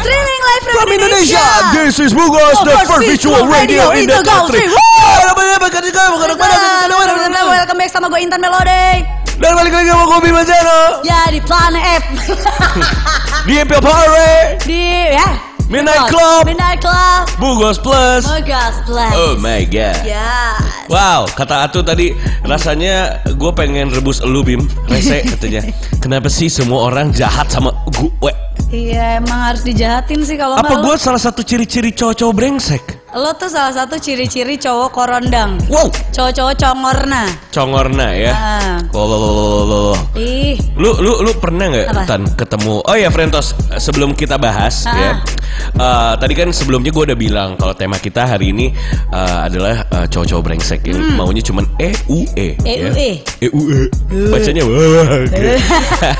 Streaming live from, From Indonesia, this is Bugos, Bugos the first virtual radio in the country. Welcome back sama gue Intan Melode Dan balik lagi sama Kopi Manjaro Ya di Planet F di MPL Pare, Di ya Midnight Club, Midnight Club Bugos Plus. Bogas Planet Oh my god. Ya Wow, kata Atu tadi rasanya gue pengen rebus elu Bim, rese katanya. Kenapa sih semua orang jahat sama gue? Iya emang harus dijahatin sih kalau nggak Apa gue lo- salah satu ciri-ciri cowok-cowok brengsek? Lo tuh salah satu ciri-ciri cowok korondang Wow, Cowok-cowok congorna congorna ya. Ah. Oh, Ih Lu lu lu pernah nggak Apa? Tan ketemu? Oh ya Frentos sebelum kita bahas Ah. ya. eh, tadi kan sebelumnya gue udah bilang kalau tema kita hari ini eh, adalah eh, cowok-cowok brengsek yang Hmm. maunya cuman EUE. EUE. Ya. EUE. Bacanya wah. gitu.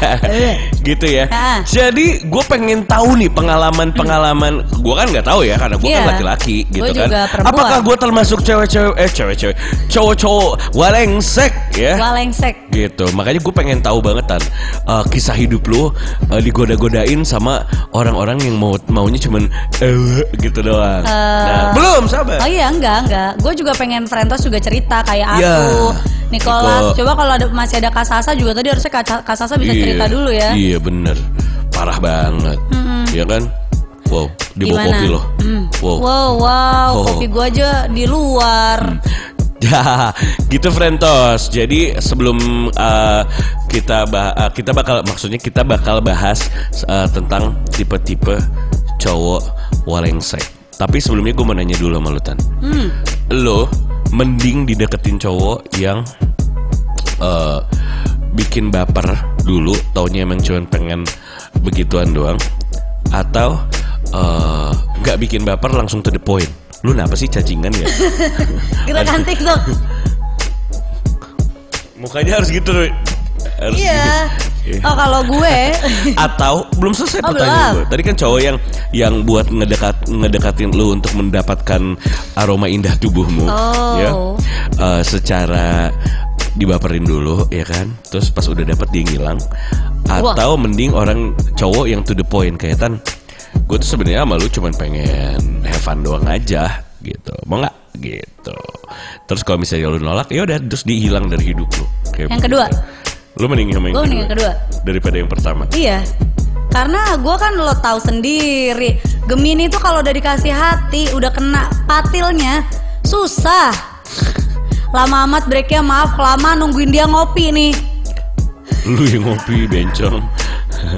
gitu E, ya. Ah. Jadi gue pengen tahu nih pengalaman-pengalaman. Gue kan nggak tahu ya karena gue kan Iya. laki-laki gitu Gua kan. juga perempuan. Apakah gue termasuk cewek-cewek eh cewek-cewek cowok-cowok walengsek ya? Walengsek gitu makanya gue pengen tahu banget tan eh, kisah hidup lo eh, digoda-godain sama orang-orang yang mau maunya cuman eh gitu doang nah, belum sabar Oh iya enggak enggak, gue juga pengen Frentos juga cerita kayak Ya. aku, Nicholas. Nico. Coba kalau ada, masih ada Kasasa juga tadi harusnya Kaca- Kasasa bisa Iya, cerita dulu ya. iya bener parah banget Iya kan wow di bawah kopi loh Hmm. wow, Wow, wow, Oh. kopi gue aja di luar. Hmm. Ya, gitu Frentos. Jadi sebelum eh, kita bah- eh, kita bakal maksudnya kita bakal bahas eh, tentang tipe-tipe cowok walengsek. Tapi sebelumnya gue mau nanya dulu sama lu Tan. Hmm. Lo mending dideketin cowok yang eh, bikin baper dulu, taunya emang cuman pengen begituan doang atau eh, nggak bikin baper langsung to the point. Lu kenapa sih cacingan ya? Gerakan TikTok. Mukanya harus gitu, Rui. Harus iya. gitu. Iya. Oh kalau gue, Atau belum selesai Oh, pertanyaan belum. gue. Tadi kan cowok yang yang buat ngedekat ngedekatin lu untuk mendapatkan aroma indah tubuhmu, Oh. ya. Eh, secara dibaperin dulu, ya kan. Terus pas udah dapet dia ngilang. Atau mending orang cowok yang to the point kayak tan. Gue tuh sebenarnya sama lu cuman pengen have fun doang aja gitu. Mau nggak? gitu. Terus kalau misalnya lu nolak, ya udah terus dihilang dari hidup lu. Kayak Yang kedua. begitu. Lu mending sama yang Gua mending yang kedua. daripada yang pertama. iya. Karena gue kan lo tahu sendiri, Gemini tuh kalau udah dikasih hati, udah kena patilnya, susah. Lama amat breaknya maaf, lama nungguin dia ngopi nih. Lu yang ngopi bencong.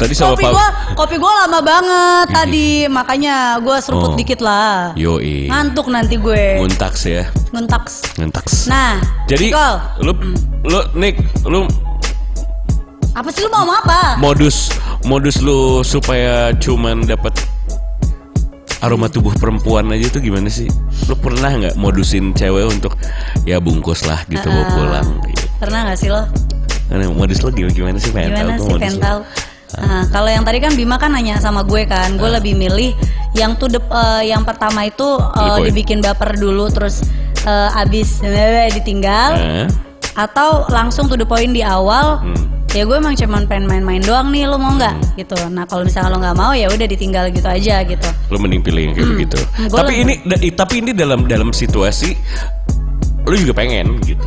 Tadi sama kopi Pak gua kopi gua lama banget tadi makanya gua seruput Iya, Oh. iya. dikit lah Yoi. ngantuk nanti gue Nguntaks ya. ngentaks Nguntaks. nah Jadi Nicole, lu lu Nick, lu apa sih lu mau ngomong apa modus modus lu supaya cuman dapat aroma tubuh perempuan aja tuh gimana sih? Lu pernah nggak modusin cewek untuk ya bungkus lah gitu mau Ah. pulang gitu. pernah nggak sih lo Karena modus lu gimana, gimana sih pengen gimana tahu sih gua modus pengen lu. tahu Nah, kalau yang tadi kan Bima kan nanya sama gue kan, Ah. gue lebih milih yang tuh yang pertama itu eh, point. dibikin baper dulu terus eh, abis eh, ditinggal Hah? atau langsung to the point di awal ya gue emang cuman pengen main-main doang nih lu mau nggak gitu nah kalau misalnya lo nggak mau ya udah ditinggal gitu aja gitu lu mending pilih yang kayak begitu. Hmm. Nah, gua Tapi lebih- ini da- i- tapi ini dalam dalam situasi lu juga pengen gitu.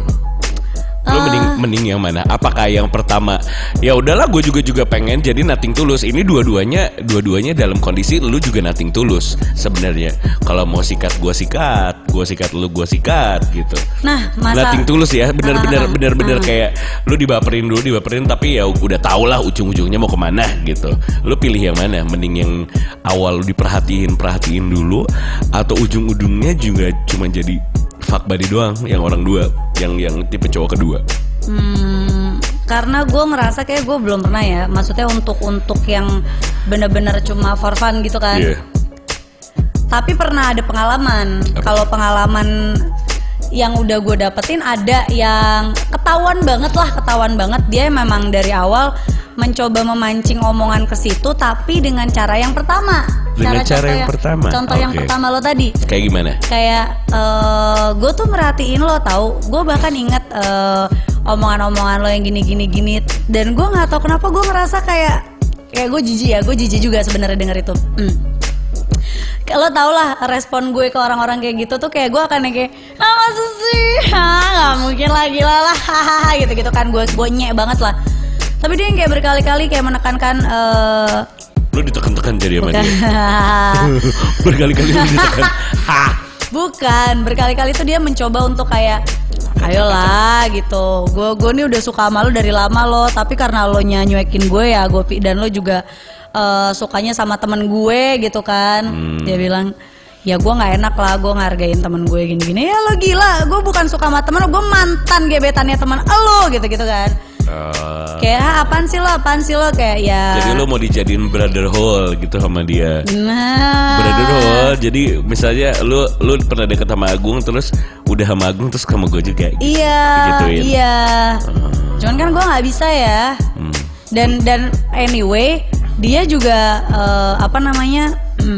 Lu mending Ah. mending yang mana? Apakah yang pertama ya udahlah gue juga juga pengen jadi nothing tulus. Ini dua-duanya dua-duanya dalam kondisi lu juga nothing tulus sebenarnya. Kalau mau sikat gua sikat, gua sikat lu gua sikat gitu. nah masa Nothing tulus ya, benar-benar Ah, benar-benar kayak lu dibaperin dulu, dibaperin tapi ya udah tau lah ujung-ujungnya mau kemana gitu. Lu pilih yang mana? Mending yang awal lu diperhatiin, perhatiin dulu, atau ujung-ujungnya juga cuma jadi fuck buddy doang, yang orang dua, yang yang tipe cowok kedua. Hmm, karena gue ngerasa kayak gue belum pernah ya maksudnya untuk untuk yang bener-bener cuma for fun gitu kan Iya. tapi pernah ada pengalaman kalau pengalaman yang udah gue dapetin ada yang ketahuan banget lah ketahuan banget dia memang dari awal mencoba memancing omongan ke situ tapi dengan cara yang pertama Dengan cara contoh yang pertama? contoh yang Oke. pertama lo tadi Kayak gimana? kayak gue tuh merhatiin lo tau gue bahkan inget eh, omongan-omongan lo yang gini gini gini dan gue nggak tahu kenapa gue ngerasa kayak kayak gue jijik ya gue jijik juga sebenarnya denger itu hmm. Kalau tau lah respon gue ke orang-orang kayak gitu tuh kayak gue akan yang kayak ah masa sih ah nggak mungkin lah gila lah hahaha gitu gitu kan gue gue nyek banget lah tapi dia yang kayak berkali-kali kayak menekankan eh Lu ditekan-tekan jadi sama dia. bukan Berkali-kali lu ditekan. Hah. Bukan, berkali-kali tuh dia mencoba untuk kayak Ayolah gitu Gue gue nih udah suka sama lo dari lama lo Tapi karena lo nyanyuekin gue ya gue pi- Dan lo juga eh, sukanya sama temen gue gitu kan Dia bilang Ya gue gak enak lah gue ngargain temen gue gini-gini Ya lo gila, gue bukan suka sama temen lo Gue mantan gebetannya temen lo gitu-gitu kan Eh, Kayak "Ah, apaan sih lo, apaan sih lo Kayak ya jadi lu mau dijadiin brother hole gitu sama dia. Nah Brother hole. Jadi misalnya lu lu pernah deket sama Agung terus udah sama Agung terus sama gue juga. Iya, Digituin. iya. Cuman kan gue nggak bisa ya. Hmm. Dan dan anyway, dia juga eh, apa namanya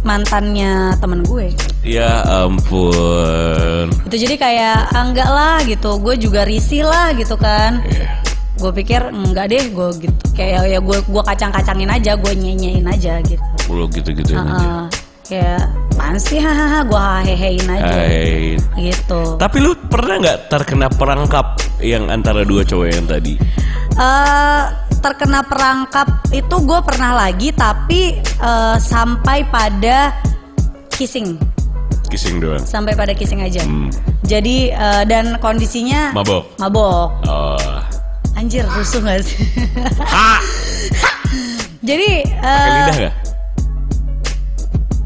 mantannya temen gue. Ya ampun. Itu jadi kayak ah, enggak lah gitu. Gue juga risih lah gitu kan. Iya. Gue pikir enggak deh, gue gitu kayak ya gue gue kacang-kacangin aja, gue nyenyain aja gitu. Lu gitu-gitu aja. Heeh. kayak apaan sih hahaha gue hehein aja Hai. gitu. Tapi lu pernah nggak terkena perangkap yang antara dua cowok yang tadi? eh terkena perangkap itu gue pernah lagi tapi eh, sampai pada kissing Kissing doang. sampai pada kissing aja Hmm. jadi eh, dan kondisinya Mabok. mabok Oh. anjir rusuh gak sih Ah. jadi eh, Pakai lidah nggak?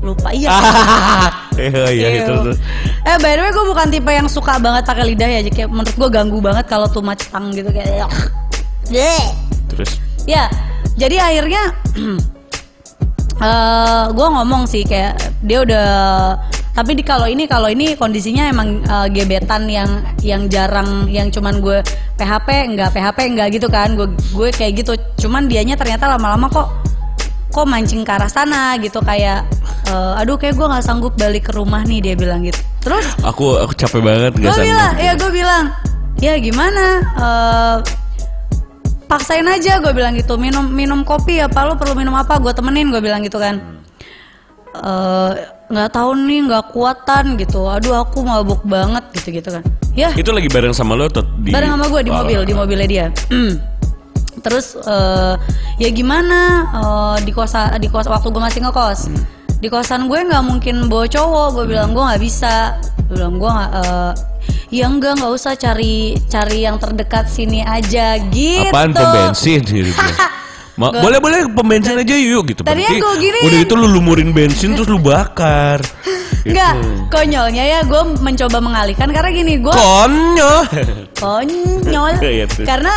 lupa iya Ah. Iya iya Ew. itu tuh. eh by the way gue bukan tipe yang suka banget pakai lidah ya jadi kayak menurut gue ganggu banget kalau tuh macetang gitu kayak Bleh. Terus Ya, jadi akhirnya eh gue ngomong sih kayak dia udah tapi di kalau ini kalau ini kondisinya emang eh, gebetan yang yang jarang yang cuman gue PHP enggak PHP enggak gitu kan gue gue kayak gitu cuman dianya ternyata lama-lama kok kok mancing ke arah sana gitu kayak eh, aduh kayak gue nggak sanggup balik ke rumah nih dia bilang gitu terus aku aku capek banget gue nggak bilang sanggup. ya gue bilang ya gimana eh, paksain aja gue bilang gitu minum minum kopi apa lo perlu minum apa gue temenin gue bilang gitu kan Eh, nggak tahu nih nggak kuatan gitu aduh aku mabuk banget gitu gitu kan ya Itu lagi bareng sama lo atau di bareng sama gue di Oh, mobil di mobilnya dia Hmm. terus eh, ya gimana eh, di kosa di kos waktu gue masih ngekos di kosan gue nggak mungkin bawa cowok gue bilang gue nggak bisa Gue bilang gue nggak eh, ya enggak nggak usah cari cari yang terdekat sini aja gitu Apaan pom bensin gitu. Ma- boleh boleh pom bensin aja yuk gitu. Tadinya Berarti kan gua giniin. Udah itu lu lumurin bensin terus lu bakar. Gitu. Enggak, konyolnya ya gue mencoba mengalihkan karena gini gue Konyol. konyol Iya, terus. karena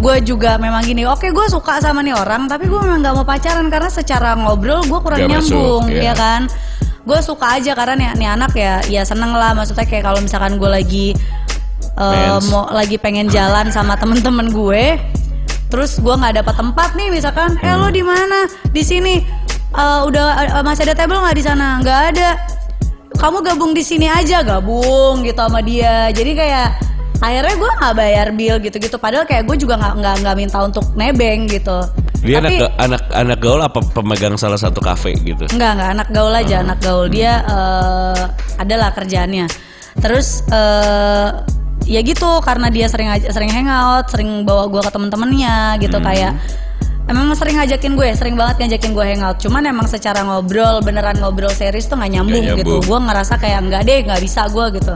gue juga memang gini oke gue suka sama nih orang tapi gue memang nggak mau pacaran karena secara ngobrol gue kurang Nggak masuk, nyambung iya. ya kan gue suka aja karena nih, nih anak ya ya seneng lah maksudnya kayak kalau misalkan gue lagi eh, Mens. mau lagi pengen jalan sama temen-temen gue terus gue nggak dapat tempat nih misalkan eh lo di mana di sini Eh, udah eh, masih ada table nggak di sana nggak ada kamu gabung di sini aja gabung gitu sama dia jadi kayak akhirnya gue nggak bayar bill gitu-gitu padahal kayak gue juga nggak nggak nggak minta untuk nebeng gitu Dia anak tapi ga- anak anak gaul apa pemegang salah satu kafe gitu. nggak nggak anak gaul aja anak gaul dia eh, adalah kerjaannya terus eh, ya gitu karena dia sering aj- sering hangout sering bawa gue ke temen-temennya gitu kayak Emang sering ngajakin gue, sering banget ngajakin gue hangout. Cuman emang secara ngobrol, beneran ngobrol serius tuh nggak nyambung, nyambung. gitu. Gue ngerasa kayak nggak deh, nggak bisa gue gitu.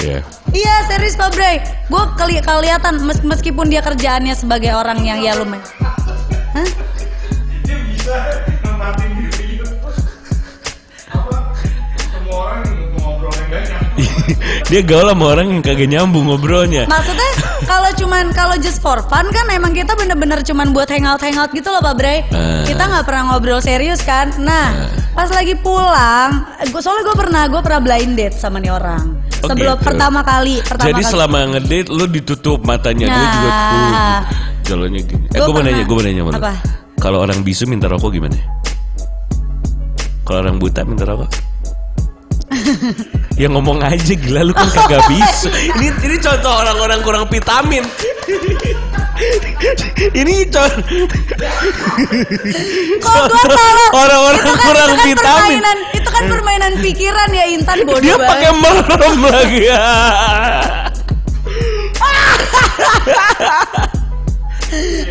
Iya. Iya serius Pak Bray, gue keli kelihatan mes- meskipun dia kerjaannya sebagai orang yang ya lumayan. Hah? dia bisa nempatin diri apa semua orang ngobrol yang banyak Dia gaul sama orang yang kagak nyambung ngobrolnya. Maksudnya kalau cuman kalau just for fun kan emang kita bener-bener cuman buat hangout hangout gitu loh Pak Bray. Eh. Kita nggak pernah ngobrol serius kan. Nah pas lagi pulang, gua, soalnya gue pernah gue pernah blind date sama nih orang. Oh, Sebelum gitu. pertama kali, pertama Jadi kali. selama ngedate lu ditutup matanya gue Nah. juga tuh. Jalannya gini. Gua Eh gue mau pernah- nanya, gue mau nanya sama lu. Apa? Kalau orang bisu minta rokok gimana? Kalau orang buta minta rokok? ya ngomong aja gila lu kan kagak bisu. ini ini contoh orang-orang kurang vitamin. Ini con- Kok gua tahu? Orang-orang Itu kan- kurang itu kan vitamin. Permainan, itu kan permainan pikiran ya Intan bodoh dia banget. pakai merem lagi. Ya,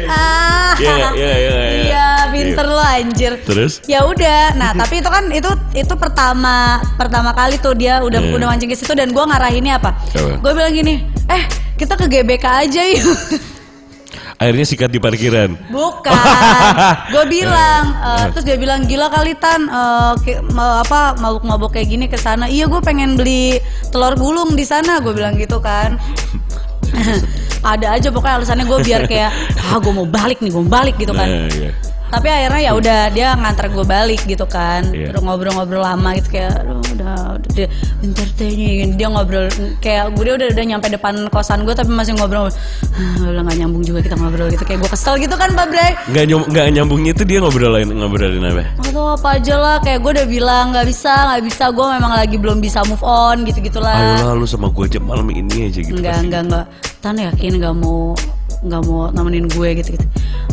Ah. Iya, iya, iya, iya, iya. Iya, pinter lo anjir. Terus? Ya udah. Nah, tapi itu kan itu itu pertama pertama kali tuh dia udah Iya. udah mancing ke situ dan gua ngarahinnya apa? Apa? Gue bilang gini, "Eh, kita ke GBK aja yuk." Akhirnya sikat di parkiran. Bukan. gue bilang Iya. eh, terus dia bilang gila kali tan eh, ke- mau apa mabuk-mabuk kayak gini ke sana. Iya gue pengen beli telur gulung di sana gue bilang gitu kan. Ada aja pokoknya alasannya gue biar kayak ah gue mau balik nih gue mau balik gitu kan. Nah, iya. Tapi akhirnya ya udah dia nganter gue balik gitu kan. Iya. Terus ngobrol-ngobrol lama gitu kayak "Aduh, udah udah dia entertaining. gitu. Dia ngobrol kayak gue dia udah udah nyampe depan kosan gue tapi masih "Ah, ngobrol. "Hah, udah gak nyambung juga kita ngobrol gitu kayak gue kesel gitu kan Pak Bray. Nggak nyom- nggak nyambungnya itu dia ngobrolin ngobrolin apa? Atau apa aja lah kayak gue udah bilang nggak bisa nggak bisa gue memang lagi belum bisa move on gitu gitulah. Ayolah lu sama gue aja malam ini aja gitu. Enggak pasti. enggak enggak. Tan yakin nggak mau nggak mau nemenin gue gitu gitu.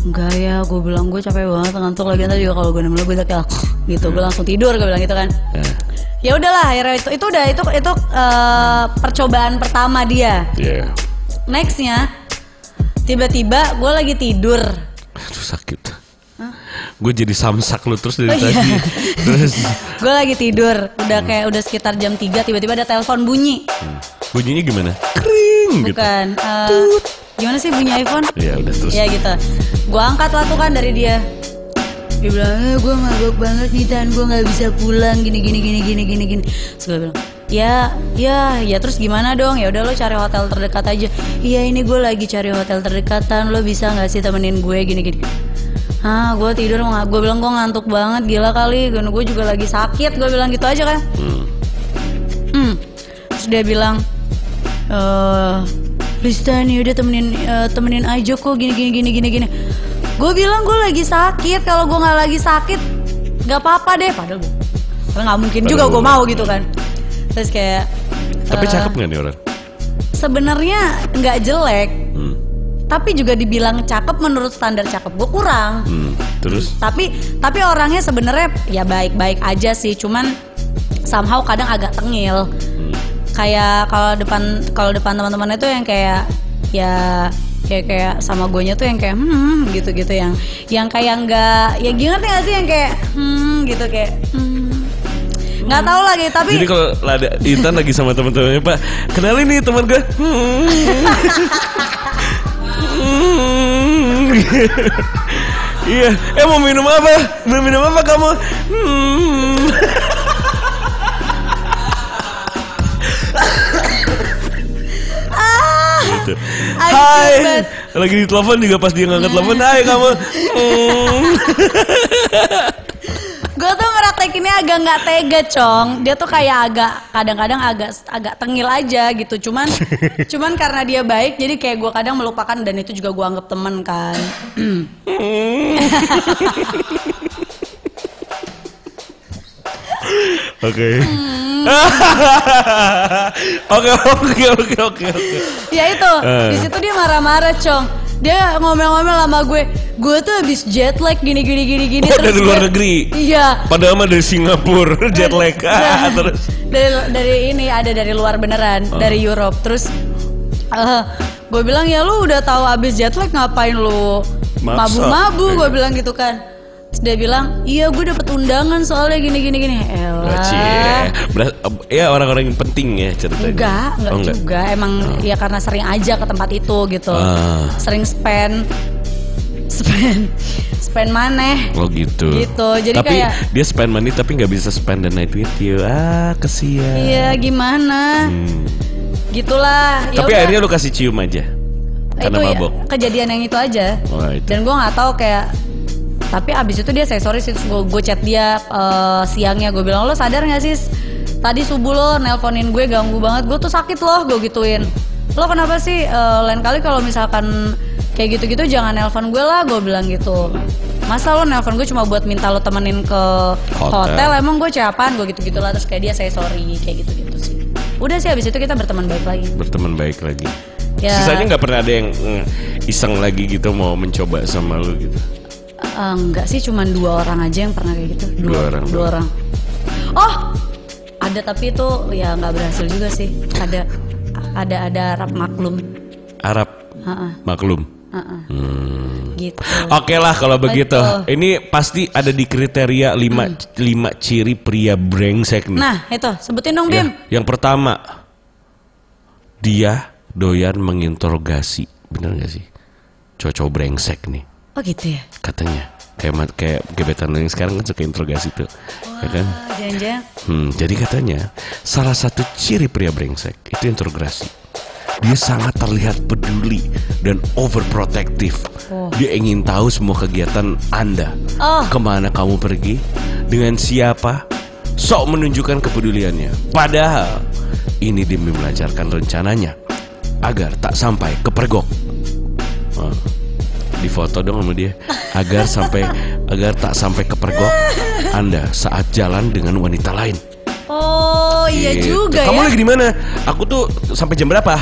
Enggak ya gue bilang gue capek banget ngantuk lagi nanti juga kalau gue nemenin lo, gue udah kayak gitu Hmm. gue langsung tidur gue bilang gitu kan. Nah, Ya udahlah akhirnya itu itu udah itu itu eh, percobaan pertama dia. iya. Nextnya tiba-tiba gue lagi tidur. Aduh sakit. Gue jadi samsak lu terus dari Oh, iya. tadi. Terus Gue lagi tidur, udah Hmm. kayak udah sekitar jam 3 tiba-tiba ada telepon bunyi. bunyinya gimana? Kering gitu. Bukan. eh, gimana sih bunyi iPhone? Ya udah terus. Ya gitu. Gua angkat lah tuh kan dari dia. Dia bilang, eh, gue mabok banget nih Tan, gue gak bisa pulang gini gini gini gini gini gini. Terus gue bilang, ya ya ya terus gimana dong ya udah lo cari hotel terdekat aja iya ini gue lagi cari hotel terdekatan lo bisa nggak sih temenin gue gini gini ah gue tidur gue bilang gue ngantuk banget gila kali gue juga lagi sakit gue bilang gitu aja kan Hmm. Hmm. Terus dia bilang, eh, Lista nih udah temenin eh, temenin aja kok gini gini gini gini gini. Gue bilang gue lagi sakit. Kalau gue nggak lagi sakit, nggak apa-apa deh. Padahal gue, padahal nggak mungkin juga Padahal gue gua- mau gitu kan. Terus kayak, Tapi eh, cakep nggak nih orang? Sebenarnya nggak jelek, Hmm. tapi juga dibilang cakep menurut standar cakep gue kurang Hmm. Terus? tapi tapi orangnya sebenarnya ya baik-baik aja sih cuman somehow kadang agak tengil kayak kalau depan kalau depan teman-temannya tuh yang kayak ya kayak kayak sama gue tuh yang kayak hmm gitu gitu yang yang kayak nggak ya gimana nggak sih yang kayak hmm gitu kayak hmm nggak tahu lagi tapi Jadi kalau ada Intan lagi sama teman-temannya Pak, kenalin nih teman gue. Hmm. Hmm. Iya, eh mau minum apa? Mau minum apa kamu? Hmm. Gitu. Ah. Aduh, Hai, bet. lagi di telepon juga pas dia ngangkat telepon. Hai kamu. Hmm. gue tuh ngeraktekinnya agak nggak tega cong dia tuh kayak agak kadang-kadang agak agak tengil aja gitu cuman cuman karena dia baik jadi kayak gue kadang melupakan dan itu juga gue anggap temen kan Oke. Hmm. Oke, oke, oke, oke, oke. ya itu Eh. di situ dia marah-marah cong dia ngomel-ngomel sama gue gue tuh habis jet lag gini gini gini gini Oh, dari luar gue- negeri. iya Padahal mah dari Singapura, jet lag. Ah, Nah, terus Oh. dari dari ini ada dari luar beneran dari Europe terus gue bilang ya lu udah tahu abis jet lag ngapain lu Maksa." mabu-mabu gue Iya. bilang gitu kan Terus dia bilang iya gue dapet undangan soalnya gini gini gini Oh, cie. elah Beras- ya orang-orang yang penting ya ceritanya. enggak enggak Oh, enggak. juga emang ya karena sering aja ke tempat itu gitu Ah. sering spend spend spend maneh Oh gitu. Gitu, jadi tapi kayak- dia spend money tapi nggak bisa spend the night with you. Ah, kesian. iya gimana Hmm. gitulah Ya Tapi udah. akhirnya lu kasih cium aja. itu Karena ya, mabok. kejadian yang itu aja Oh, itu. dan gue nggak tahu kayak tapi abis itu dia saya sorry sih gue chat dia eh, siangnya gue bilang lo sadar nggak sih tadi subuh lo nelponin gue ganggu banget gue tuh sakit loh gue gituin lo kenapa sih Eh, lain kali kalau misalkan kayak gitu-gitu jangan nelpon gue lah gue bilang gitu masa lo nelpon gue cuma buat minta lo temenin ke Hotel. hotel, emang gue capan gue gitu-gitu lah terus kayak dia saya sorry kayak gitu-gitu sih udah sih abis itu kita berteman baik lagi Berteman baik lagi. Ya. Sisanya nggak pernah ada yang mm, iseng lagi gitu mau mencoba sama lu gitu. Eh, enggak sih cuman dua orang aja yang pernah kayak gitu Dua orang dua doang. orang oh ada tapi itu ya nggak berhasil juga sih ada ada ada Arab maklum Arab Ha-ha, maklum. ha-ha. Hmm. gitu Oke lah kalau begitu. Betul. Hmm. Ini pasti ada di kriteria lima lima ciri pria brengsek nih. nah itu sebutin dong Ya, Bim yang pertama dia doyan menginterogasi, bener gak sih? Cowok-cowok brengsek nih oh gitu ya katanya. Kayak ma- kayak gebetan lu yang sekarang kan suka interogasi tuh, ya kan? Ah, jangan-jangan Hmm, jadi katanya salah satu ciri pria brengsek itu interogasi. Dia sangat terlihat peduli dan overprotective. Oh. Dia ingin tahu semua kegiatan Anda. Oh. Kemana kamu pergi? Dengan siapa? Sok menunjukkan kepeduliannya. Padahal ini demi melancarkan rencananya agar tak sampai kepergok. Nah, di foto dong sama dia agar sampai agar tak sampai kepergok Anda saat jalan dengan wanita lain. oh iya Gitu. juga Kamu ya lagi di mana? Aku tuh sampai jam berapa?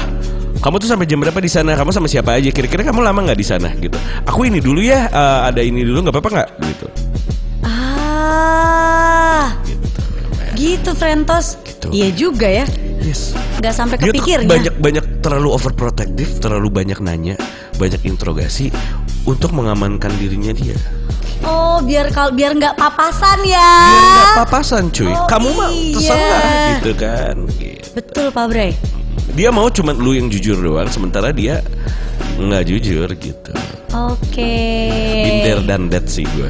Kamu tuh sampai jam berapa di sana? Kamu sama siapa aja? Kira-kira kamu lama nggak di sana? Gitu. Aku ini dulu ya. eh, ada ini dulu nggak apa-apa nggak? Gitu. ah gitu Frentos Gitu. iya juga ya Yes. nggak sampai Dia tuh kepikirnya banyak banyak terlalu overprotective, terlalu banyak nanya, banyak interogasi untuk mengamankan dirinya dia. oh biar kal biar nggak papasan ya Biar nggak papasan cuy. Oh, kamu mah iya. terserah gitu kan. Gitu. betul Pak Bray Dia mau cuman lu yang jujur doang, sementara dia nggak jujur gitu. Oke. Binder dan dead sih gue.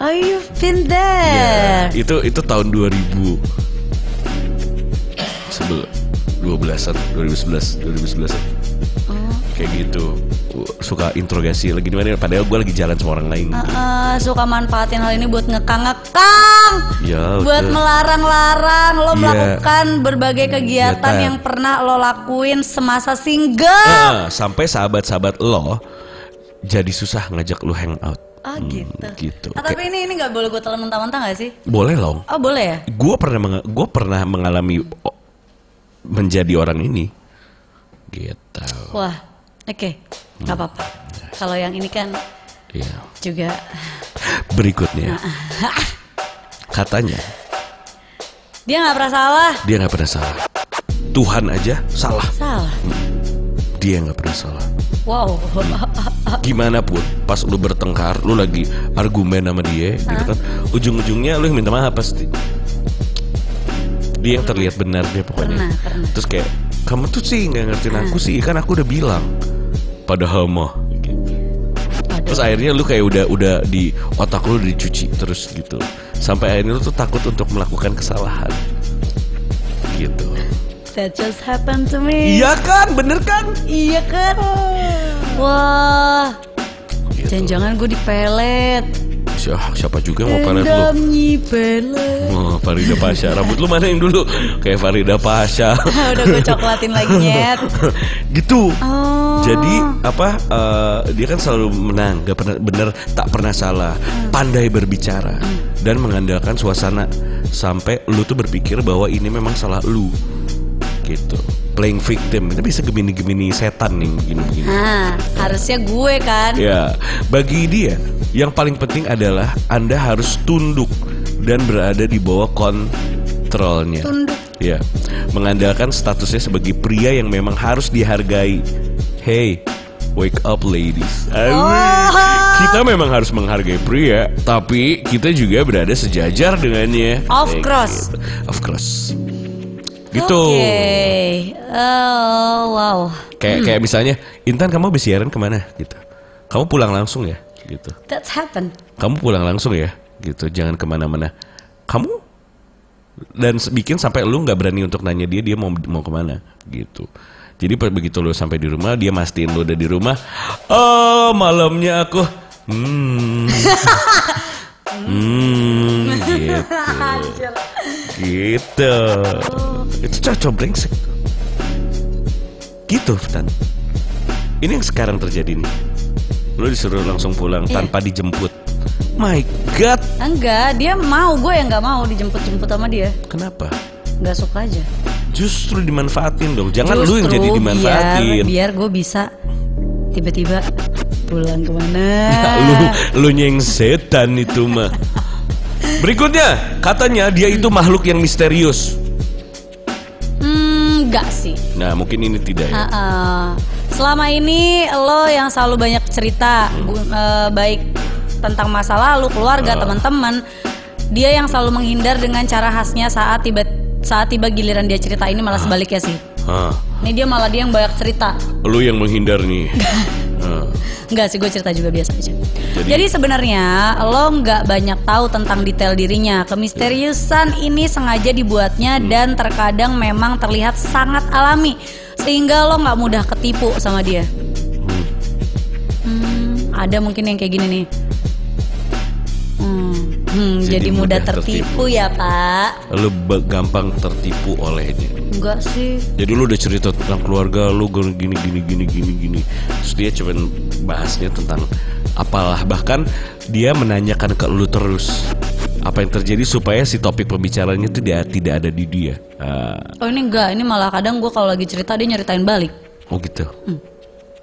Oh, you've been there. Iya. itu itu tahun 2000 sebelum 12-an 2011 2011 Oh. kayak gitu Gua suka interogasi lagi di mana padahal gue lagi jalan sama orang lain Heeh, uh, suka manfaatin hal ini buat ngekang-ngekang. Ya, buat betul. melarang-larang lo Iya. melakukan berbagai kegiatan Kegiatan. yang pernah lo lakuin semasa single. Ah, sampai sahabat-sahabat lo jadi susah ngajak lu hangout Ah, Hmm, gitu. gitu Ah, tapi ini ini nggak boleh gue telan mentah-mentah nggak sih? Kayak, boleh lo Oh boleh ya? gue pernah meng- gua pernah mengalami oh, menjadi orang ini gitu Wah, oke, Hmm. nggak apa-apa. Kalau yang ini kan ya juga berikutnya katanya dia nggak pernah salah. dia nggak pernah salah Tuhan aja salah Salah. dia nggak pernah salah Wow. Hmm. gimana pun pas lu bertengkar lu lagi argumen sama dia gitu kan Ah. ujung-ujungnya lu yang minta maaf pasti dia yang terlihat benar dia pokoknya Pernah, pernah. terus kayak kamu tuh sih nggak ngertiin aku sih kan aku udah bilang padahal mah gitu. Aduh. terus akhirnya lu kayak udah udah di otak lu udah dicuci terus gitu sampai akhirnya lu tuh takut untuk melakukan kesalahan gitu That just happened to me. iya kan bener kan Iya kan? Wah, jangan-jangan gue dipelet. Gitu. Siapa, siapa juga yang mau Oh, pelet lu? Dendam nyipelet. Oh, Farida Pasha. Rambut lu mana yang dulu? Kayak Farida Pasha. Udah gue coklatin lagi nyet. gitu. Oh. Jadi apa? eh, dia kan selalu menang, gak pernah bener, tak pernah salah, pandai berbicara dan mengandalkan suasana sampai lu tuh berpikir bahwa ini memang salah lu. Gitu. Playing victim. Itu bisa gemini-gemini setan nih begini-begini. Nah, harusnya gue kan. Ya, bagi dia yang paling penting adalah Anda harus tunduk dan berada di bawah kontrolnya. Tunduk. Ya, mengandalkan statusnya sebagai pria yang memang harus dihargai. Hey, wake up ladies. Amin. Oh. Kita memang harus menghargai pria, tapi kita juga berada sejajar dengannya. Of Kayak course. gitu. Of course. Gitu. Oke. Oh, wow. Kayak kayak misalnya, Intan kamu habis siaran kemana? Gitu. Kamu pulang langsung ya? Gitu. That's happened. kamu pulang langsung ya gitu jangan kemana-mana kamu dan se- bikin sampai lu nggak berani untuk nanya dia dia mau mau kemana gitu jadi pe- begitu lu sampai di rumah dia mastiin lu udah di rumah oh malamnya aku hmm hmm gitu gitu itu cocok brengsek gitu Tan ini yang sekarang terjadi nih lu disuruh langsung pulang Iya. tanpa dijemput my god Enggak, dia mau gue yang nggak mau dijemput-jemput sama dia. kenapa Nggak suka aja. justru dimanfaatin dong jangan lu yang jadi dimanfaatin biar, biar gue bisa tiba-tiba bulan kemana iya. lu lu nyeng setan itu mah berikutnya katanya dia itu makhluk yang misterius Hmm, enggak sih nah mungkin ini tidak ya Heeh. Selama ini lo yang selalu banyak cerita gu- eh, baik tentang masa lalu, keluarga, teman-teman. Dia yang selalu menghindar dengan cara khasnya saat tiba saat tiba giliran dia cerita ini malah sebaliknya sih. Hah, Ini dia malah dia yang banyak cerita. Ah, lu yang menghindar nih Ah. Hah. Enggak sih, gue cerita juga biasa aja. Jadi- Jadi, sebenarnya lo nggak banyak tahu tentang detail dirinya. Kemisteriusan ini sengaja dibuatnya Hmm. dan terkadang memang terlihat sangat alami sehingga lo nggak mudah ketipu sama dia. Hmm, ada mungkin yang kayak gini nih. Hmm, hmm, Jadi jadi, mudah, mudah tertipu, ya Pak? lu be- gampang tertipu olehnya Enggak sih. Jadi lu udah cerita tentang keluarga lu gini gini gini gini gini gini. Terus dia cuman bahasnya tentang apalah bahkan dia menanyakan ke lu terus apa yang terjadi supaya si topik pembicaranya itu dia tidak ada di dia. Ah, Oh ini enggak, ini malah kadang gue kalau lagi cerita dia nyeritain balik. oh gitu. Hmm.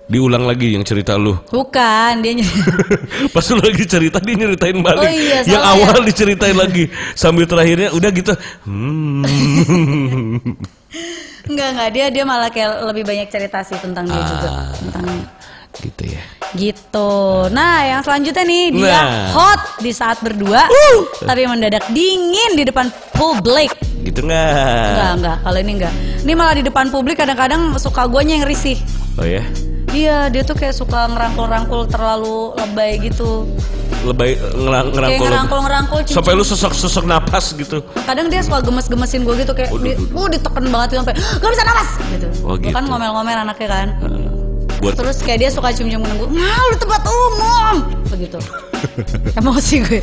Diulang lagi yang cerita lu. Bukan, dia nyeritain. Pas lu lagi cerita dia nyeritain balik. Oh iya, salah yang ya. awal diceritain lagi sambil terakhirnya udah gitu. Hmm. Enggak enggak dia dia malah kayak lebih banyak cerita sih tentang dia juga Ah. tentang gitu ya. gitu. Nah yang selanjutnya nih dia Nah. hot di saat berdua, tapi mendadak dingin di depan publik. Gitu nggak? Enggak enggak kalau ini enggak. Ini malah di depan publik kadang-kadang suka guanya yang risih. Oh ya. Iya dia tuh kayak suka ngerangkul-rangkul terlalu lebay gitu. lebay ngerang, Kayak ngerangkul, gitu. ngerangkul-ngerangkul cincin. sampai lu sesek-sesek napas gitu Kadang dia suka gemes-gemesin gue gitu kayak, di, uh diteken banget gitu sampai gak bisa nafas gitu. Oh, Gua Kan gitu. ngomel-ngomel anaknya kan. buat Terus kayak dia suka cium-cium nunggu, nah lu tempat umum Begitu Emosi gue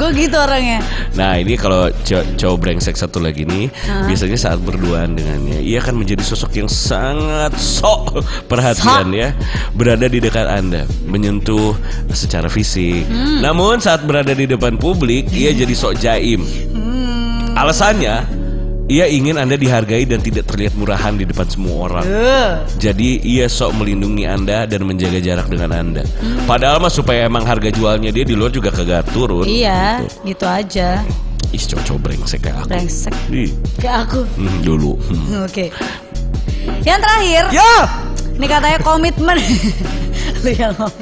Gue gitu orangnya nah ini kalau cow- cowok brengsek satu lagi nih biasanya saat berduaan dengannya ia akan menjadi sosok yang sangat sok perhatian ya berada di dekat anda menyentuh secara fisik namun saat berada di depan publik ia jadi sok jaim Hmm. alasannya ia ingin anda dihargai dan tidak terlihat murahan di depan semua orang Jadi ia sok melindungi Anda dan menjaga jarak dengan Anda. Hmm. Padahal mah supaya emang harga jualnya dia di luar juga kagak turun. Iya gitu aja Ih, cowok brengsek kayak aku. Brengsek Ih, Kayak aku hmm, dulu. Hmm. Oke Yang terakhir Ya. Ini katanya komitmen Lu yang ngomong.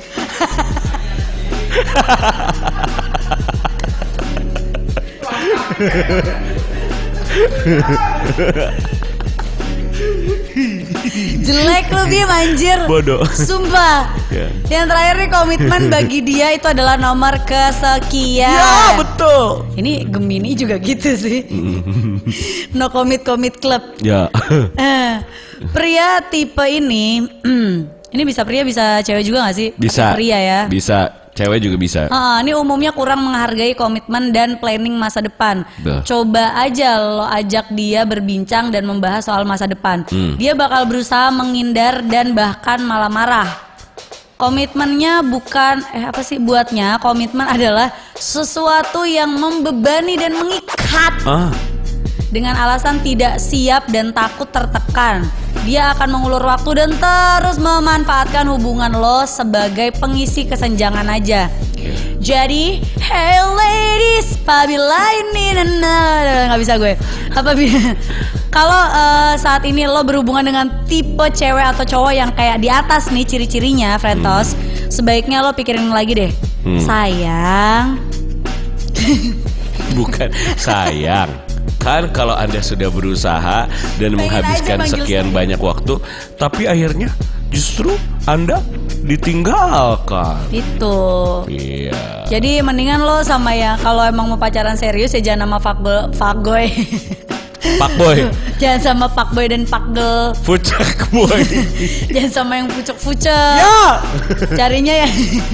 Jelek lu dia anjir Bodoh. Sumpah Ya. Yang terakhir nih komitmen bagi dia itu adalah nomor kesekian Ya, betul. Ini Gemini juga gitu sih No commit commit club Ya. Eh, pria tipe ini, hmm, ini bisa pria bisa cewek juga gak sih? bisa. Tapi Pria ya. Bisa. Cewek juga bisa. Ah, ini umumnya kurang menghargai komitmen dan planning masa depan. Duh. Coba aja lo ajak dia berbincang dan membahas soal masa depan. Hmm. Dia bakal berusaha menghindar dan bahkan malah marah. Komitmennya bukan eh apa sih buatnya? Komitmen adalah sesuatu yang membebani dan mengikat Ah, dengan alasan tidak siap dan takut tertekan. Dia akan mengulur waktu dan terus memanfaatkan hubungan lo sebagai pengisi kesenjangan aja. Jadi, hey ladies, apabila ini nana nah, nggak bisa gue. Apabila kalau eh, saat ini lo berhubungan dengan tipe cewek atau cowok yang kayak di atas nih ciri-cirinya, Fretos, sebaiknya lo pikirin lagi deh. Hmm. Sayang, bukan sayang. Kan kalau Anda sudah berusaha dan aja menghabiskan manggil sekian banyak waktu, tapi akhirnya justru Anda ditinggalkan. itu. Iya. Jadi mendingan lo sama ya kalau emang mau pacaran serius ya jangan sama fuckbo- fuckboy. Pak Boy, jangan sama fuckboy dan fuckgirl. Fucek Boy. Jangan sama yang pucuk-pucuk. Ah! Carinya ya.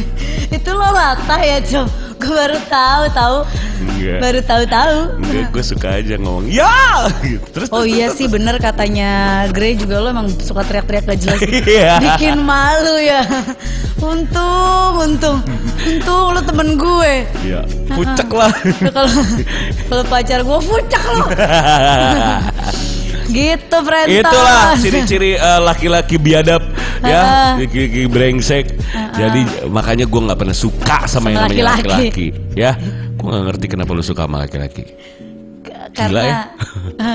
itu lo latah ya, Cok. Gue baru tahu tahu. Enggak. Baru tahu tahu. Iya. Enggak, gue suka aja ngomong ya. Gitu. Terus Oh iya sih bener katanya Grey juga lo emang suka teriak-teriak gak jelas gitu. Iya. Bikin malu ya Untung, untung Untung lo temen gue ya, pucek lah. Lu kalau kalau pacar gue puncak lo Gitu Frenta. Itulah ciri-ciri eh, laki-laki biadab ya, Heeh. laki-laki brengsek. Jadi makanya gue nggak pernah suka sama Sama yang namanya laki-laki. laki-laki, ya. Gue nggak ngerti kenapa lu suka sama laki-laki. K- Gila ya. Karena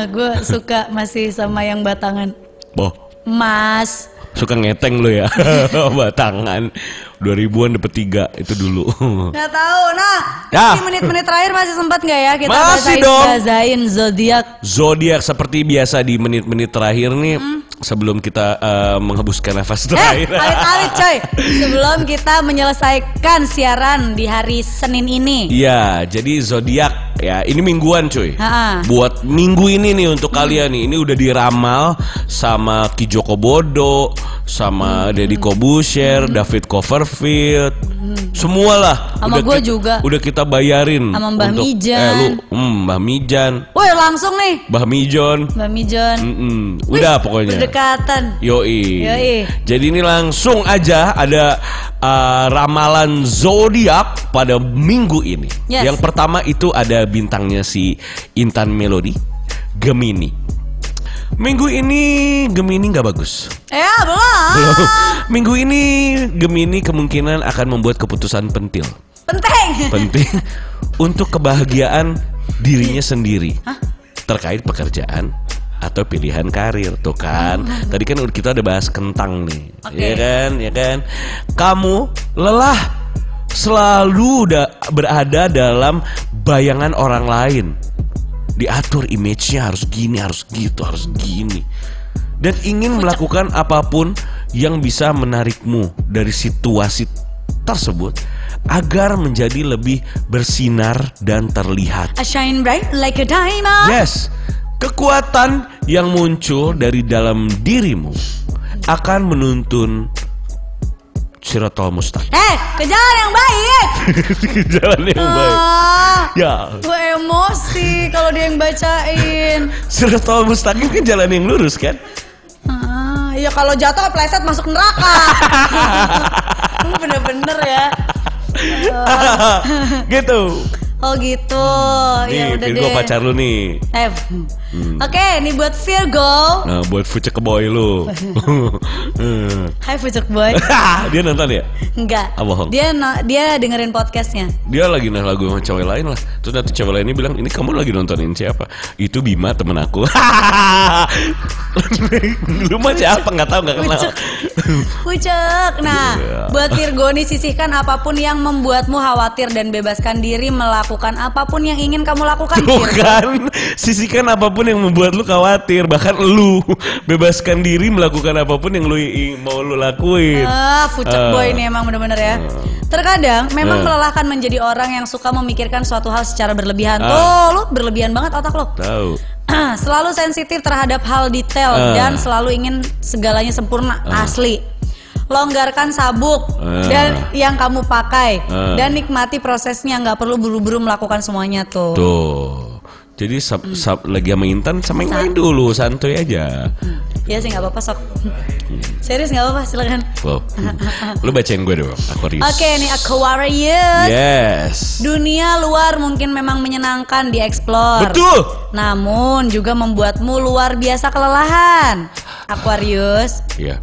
gue suka masih sama yang batangan. Boh, Mas, suka ngeteng lu ya, batangan. 2000-an dapet tiga itu dulu. nggak tahu. Nah, Oh. Ya. di menit-menit terakhir masih sempat nggak ya kita Masih bacain dong. bazain zodiak Zodiak seperti biasa di menit-menit terakhir nih, sebelum kita eh, menghembuskan nafas terakhir. Eh, alit-alit coy. Sebelum kita menyelesaikan siaran di hari Senin ini. Iya, jadi zodiak ya ini mingguan cuy. Ha-ha. Buat minggu ini nih untuk kalian nih, ini udah diramal sama Ki Joko Bodo, sama Hmm. Deddy Kobusher, David Coverfield, semualah. Hmm. Sama Udah gua ki- juga. Udah kita bayarin. Sama Mbah untuk- Mijan. Eh, lu, mm, Mbah Mijan, Woi, langsung nih Mbah Mijon, Mbak Mijon. mm-mm, Hmm, udah pokoknya. Berdekatan. Yoi. Yoi. Jadi ini langsung aja ada uh, ramalan zodiak pada minggu ini. Yes. Yang pertama itu ada bintangnya si Intan Melody, Gemini. Minggu ini Gemini nggak bagus. Ya, belum. minggu ini Gemini kemungkinan akan membuat keputusan pentil, Penting. penting untuk kebahagiaan dirinya sendiri terkait pekerjaan atau pilihan karir tuh kan tadi kan kita udah bahas kentang nih Oke. ya kan ya kan kamu lelah selalu da- berada dalam bayangan orang lain diatur image-nya harus gini harus gitu harus gini dan ingin melakukan apapun yang bisa menarikmu dari situasi tersebut agar menjadi lebih bersinar dan terlihat I shine bright like a diamond. Yes, kekuatan yang muncul dari dalam dirimu akan menuntun sirotol mustaqim. Eh, ke jalan yang baik. Jalan yang baik. Ah, Ya, gue emosi kalau dia yang bacain. sirotol mustaqim kan jalan yang lurus kan? Ah, ya kalau jatuh kepleset masuk neraka. Lu Bener-bener ya. gitu. Oh gitu. ya Nih, udah Virgo deh. pacar Hmm. lu nih. Eh, Oke, ini buat Virgo. Nah, buat fucek boy lu. Hmm. Hai Pucuk Boy. Dia nonton ya? Enggak. Ah, bohong. Dia no- dia dengerin podcastnya. Dia lagi nah lagu sama cewek lain lah. Terus nanti cewek lainnya bilang, ini kamu lagi nontonin siapa? Itu Bima temen aku. Lu mah siapa? Nggak tahu nggak kenal. Pucuk. Nah, Iya. buat Virgo nih sisihkan apapun yang membuatmu khawatir dan bebaskan diri melakukan apapun yang ingin kamu lakukan. Tuh Virgo. kan, sisihkan apapun yang membuat lu khawatir. Bahkan lu bebaskan diri melakukan apapun yang lu i- mau lu lakuin. Ah, Pucuk Ah. Boy ini emang bener-bener ya. Terkadang memang Ah. melelahkan menjadi orang yang suka memikirkan suatu hal secara berlebihan. Ah. Tuh, lu berlebihan banget otak lu. Tahu. selalu sensitif terhadap hal detail Ah. dan selalu ingin segalanya sempurna asli. Longgarkan sabuk Ah. dan yang kamu pakai Ah. dan nikmati prosesnya nggak perlu buru-buru melakukan semuanya tuh. Tuh. Jadi sab- sab- lagi sama Intan sama yang lain dulu, santuy aja. Iya sih nggak apa-apa sok. Serius nggak apa-apa silakan. Wow. Lu bacain gue dong, Aquarius. Oke nih Aquarius. Yes. Dunia luar mungkin memang menyenangkan dieksplor. Betul. Namun juga membuatmu luar biasa kelelahan. Aquarius. Iya.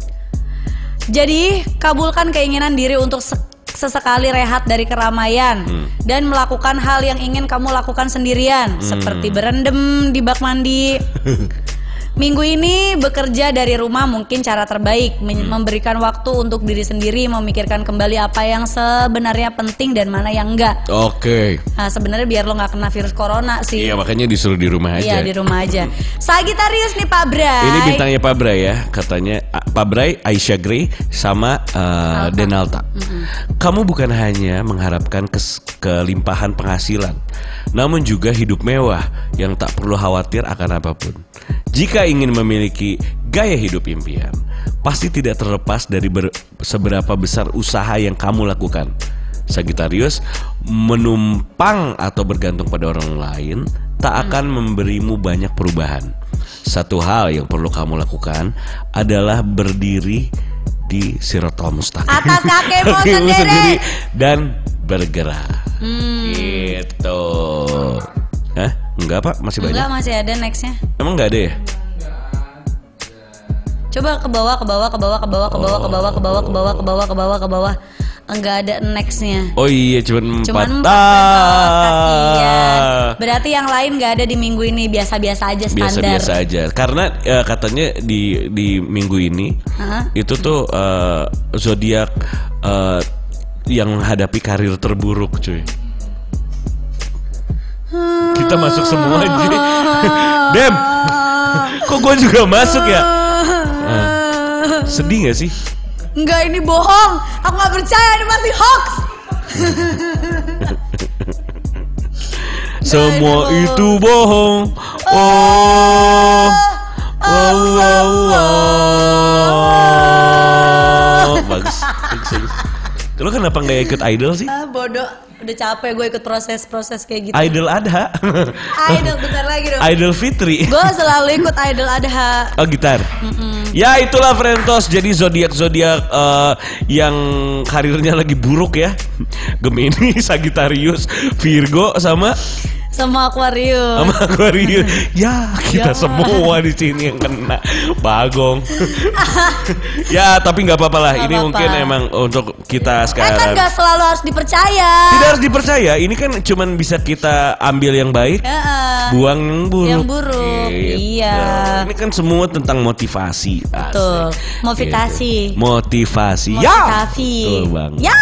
Jadi, kabulkan keinginan diri untuk se- sesekali rehat dari keramaian dan melakukan hal yang ingin kamu lakukan sendirian, seperti berendam di bak mandi. Minggu ini bekerja dari rumah mungkin cara terbaik Men- memberikan waktu untuk diri sendiri memikirkan kembali apa yang sebenarnya penting dan mana yang enggak. Oke. Nah, sebenarnya biar lo nggak kena virus corona sih. Iya makanya disuruh di rumah aja. Iya, di rumah aja. Sagitarius nih Pak Bray. Ini bintangnya Pak Bray ya, katanya ah, Pak Bray, Aisyah Grey sama eh, Denalta. Kamu bukan hanya mengharapkan kes- kelimpahan penghasilan, namun juga hidup mewah yang tak perlu khawatir akan apapun. Jika ingin memiliki gaya hidup impian, pasti tidak terlepas dari ber- seberapa besar usaha yang kamu lakukan. Sagittarius menumpang atau bergantung pada orang lain tak akan memberimu banyak perubahan. Satu hal yang perlu kamu lakukan adalah berdiri di sirotol mustaqim. Atas kakimu Kakimu sendiri. Hmm, dan bergerak. Gitu. Hah? Enggak, Pak, masih banyak. Enggak masih ada nextnya. Emang enggak ada ya? coba ke bawah ke bawah ke bawah ke bawah ke bawah ke bawah ke bawah ke bawah ke bawah ke bawah ke bawah enggak ada nextnya Oh iya cuman empat Cuman empat ya. mental, kasihan. Ah. Berarti yang lain nggak ada di minggu ini biasa-biasa aja standar. biasa-biasa aja karena eh, katanya di di minggu ini Hah? itu tuh eh, zodiak eh, yang menghadapi karir terburuk cuy kita masuk semua Hmm. cuy dem kok gue juga masuk ya sedih gak sih Enggak ini bohong. Aku nggak percaya ini pasti hoax. semua Aduh. itu bohong oh wow wow wow bagus bagus, bagus. Lo kenapa nggak ikut idol sih Ah, bodoh. Udah capek gue ikut proses-proses kayak gitu. Idol Adha Idol bentar lagi dong. Idol Fitri Gue selalu ikut idol adha. Oh gitar Ya itulah Frentos Jadi zodiak-zodiak eh, Yang karirnya lagi buruk ya Gemini, Sagittarius, Virgo sama Sama Aquarius. sama Aquarius. Ya kita semua di sini yang kena Bagong Ya tapi nggak apa-apa lah Nggak Ini apa-apa. mungkin emang untuk kita Eh kan sekarang gak selalu harus dipercaya. Tidak harus dipercaya Ini kan cuman bisa kita ambil yang baik Heeh. buang Ya. Yang yang buruk. Gitu. buruk, iya. Ini kan semua tentang motivasi. asik. Betul. Motivasi. Gitu. Motivasi. Ya. Motivasi. Betul bang. Ya.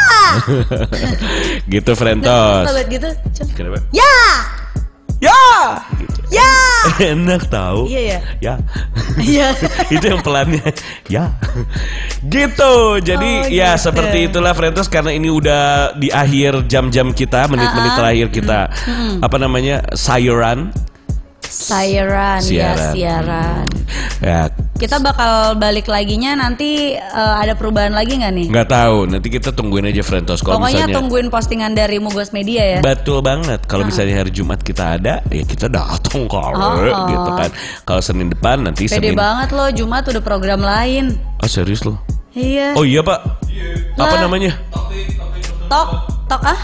gitu Frentos. Kalau gitu. coba. Kenapa? Ya. Ya. Gitu. Ya. Enak tahu. Iya, Ya. Iya. itu yang pelannya. ya. Gitu. Oh, Jadi ya gitu. seperti itulah Frentos karena ini udah di akhir jam-jam kita, menit-menit Ah, Hmm. ah. terakhir kita apa namanya? sayuran. Siaran, ya Siaran. siaran. Ya, Kita bakal balik laginya nanti eh, ada perubahan lagi nggak nih? Nggak tahu, nanti kita tungguin aja Frentos kalau Pokoknya misalnya tungguin postingan dari Mugos Media ya. Ah. Betul banget. Kalau misalnya hari Jumat kita ada, ya kita datang kalau Oh. gitu kan. Kalau Senin depan nanti Pede Senin. banget loh, Jumat udah program lain. Oh, serius loh. Iya. Oh iya, Pak. Apa Lah. namanya? Tok, tok ah?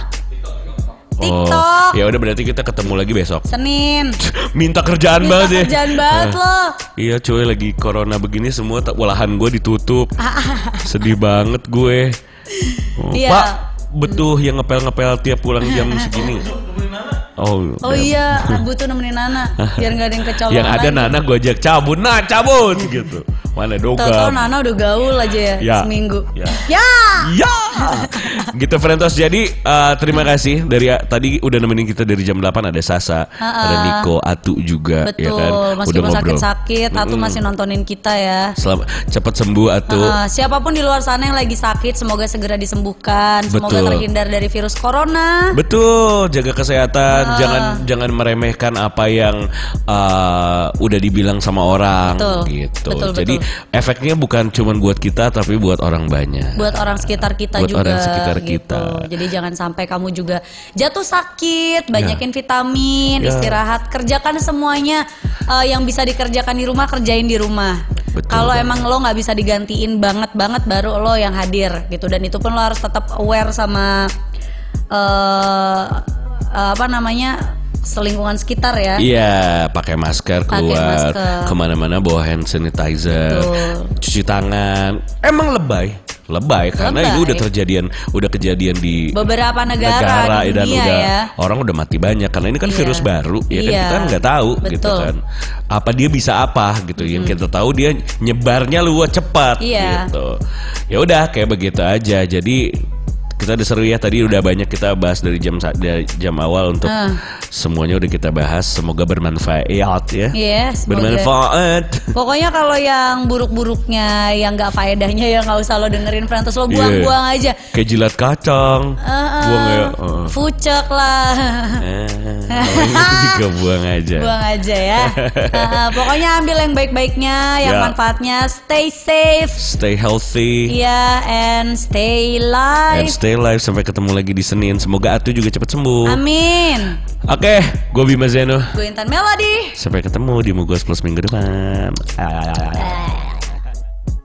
Oh, TikTok. ya udah berarti kita ketemu lagi besok. Senin. Minta kerjaan Minta banget ya. kerjaan banget Eh, loh. Iya cuy lagi corona begini semua tak walahan gue ditutup. Sedih banget gue. Oh, Iya. Pak, betuh yang ngepel-ngepel tiap pulang jam segini. Oh, Oh damn. iya, butuh nemenin Nana biar nggak ada yang kecolongan. yang ada Nana gue ajak cabut nah cabut gitu mana Tahu-tahu doga Nana udah gaul aja ya, Ya. seminggu. Ya. Ya. ya gitu Frentos jadi eh, terima kasih dari tadi udah nemenin kita dari jam 8 ada Sasa ada Niko Atu juga ya Betul, kan meskipun sakit-sakit, atau masih nontonin kita ya. Selama, cepat sembuh Atu Heeh, siapapun di luar sana yang lagi sakit, semoga segera disembuhkan, semoga Betul. terhindar dari virus corona. Betul, jaga kesehatan, Ah. jangan jangan meremehkan apa yang uh, udah dibilang sama orang Betul, gitu. betul, Jadi efeknya bukan cuma buat kita tapi buat orang banyak. buat orang sekitar kita Buat juga gitu. orang sekitar kita. Jadi jangan sampai kamu juga jatuh sakit, banyakin vitamin, Ya. istirahat, kerjakan semuanya eh, yang bisa dikerjakan di rumah kerjain di rumah. Betul Kalau banget. emang lo nggak bisa digantiin banget banget baru lo yang hadir gitu dan itu pun lo harus tetap aware sama eh apa namanya selingkungan sekitar ya. Iya, pakai masker Pakai keluar, masker. kemana-mana bawa hand sanitizer, cuci tangan. Emang lebay, lebay karena Lebay. itu udah terjadian, udah kejadian di Beberapa negara, di dunia dan udah ya. orang udah mati banyak karena ini kan Iya. virus baru ya kan Iya. kita kan nggak tahu gitu Betul. kan apa dia bisa apa gitu yang kita tahu dia nyebarnya luas cepat Iya. gitu ya udah kayak begitu aja jadi kita udah seru ya tadi udah banyak kita bahas dari jam sa- dari jam awal untuk Ah. semuanya udah kita bahas semoga bermanfaat ya Iya, semoga. bermanfaat Pokoknya kalau yang buruk-buruknya, yang nggak faedahnya ya nggak usah lo dengerin friend terus lo buang-buang aja. kayak jilat kacang Eh, Iya. buang ya eh. Fucek lah. Eh, namanya juga buang aja buang aja ya. Eh, pokoknya ambil yang baik-baiknya, yang Ya. manfaatnya. Stay safe. stay healthy Iya, and stay And live. stay live sampai ketemu lagi di Senin. Semoga Atu juga cepat sembuh. Amin. Oke, gue Bima Zeno. Gue Intan Melody. Sampai ketemu di Mugos Plus minggu depan. Ah. Eh.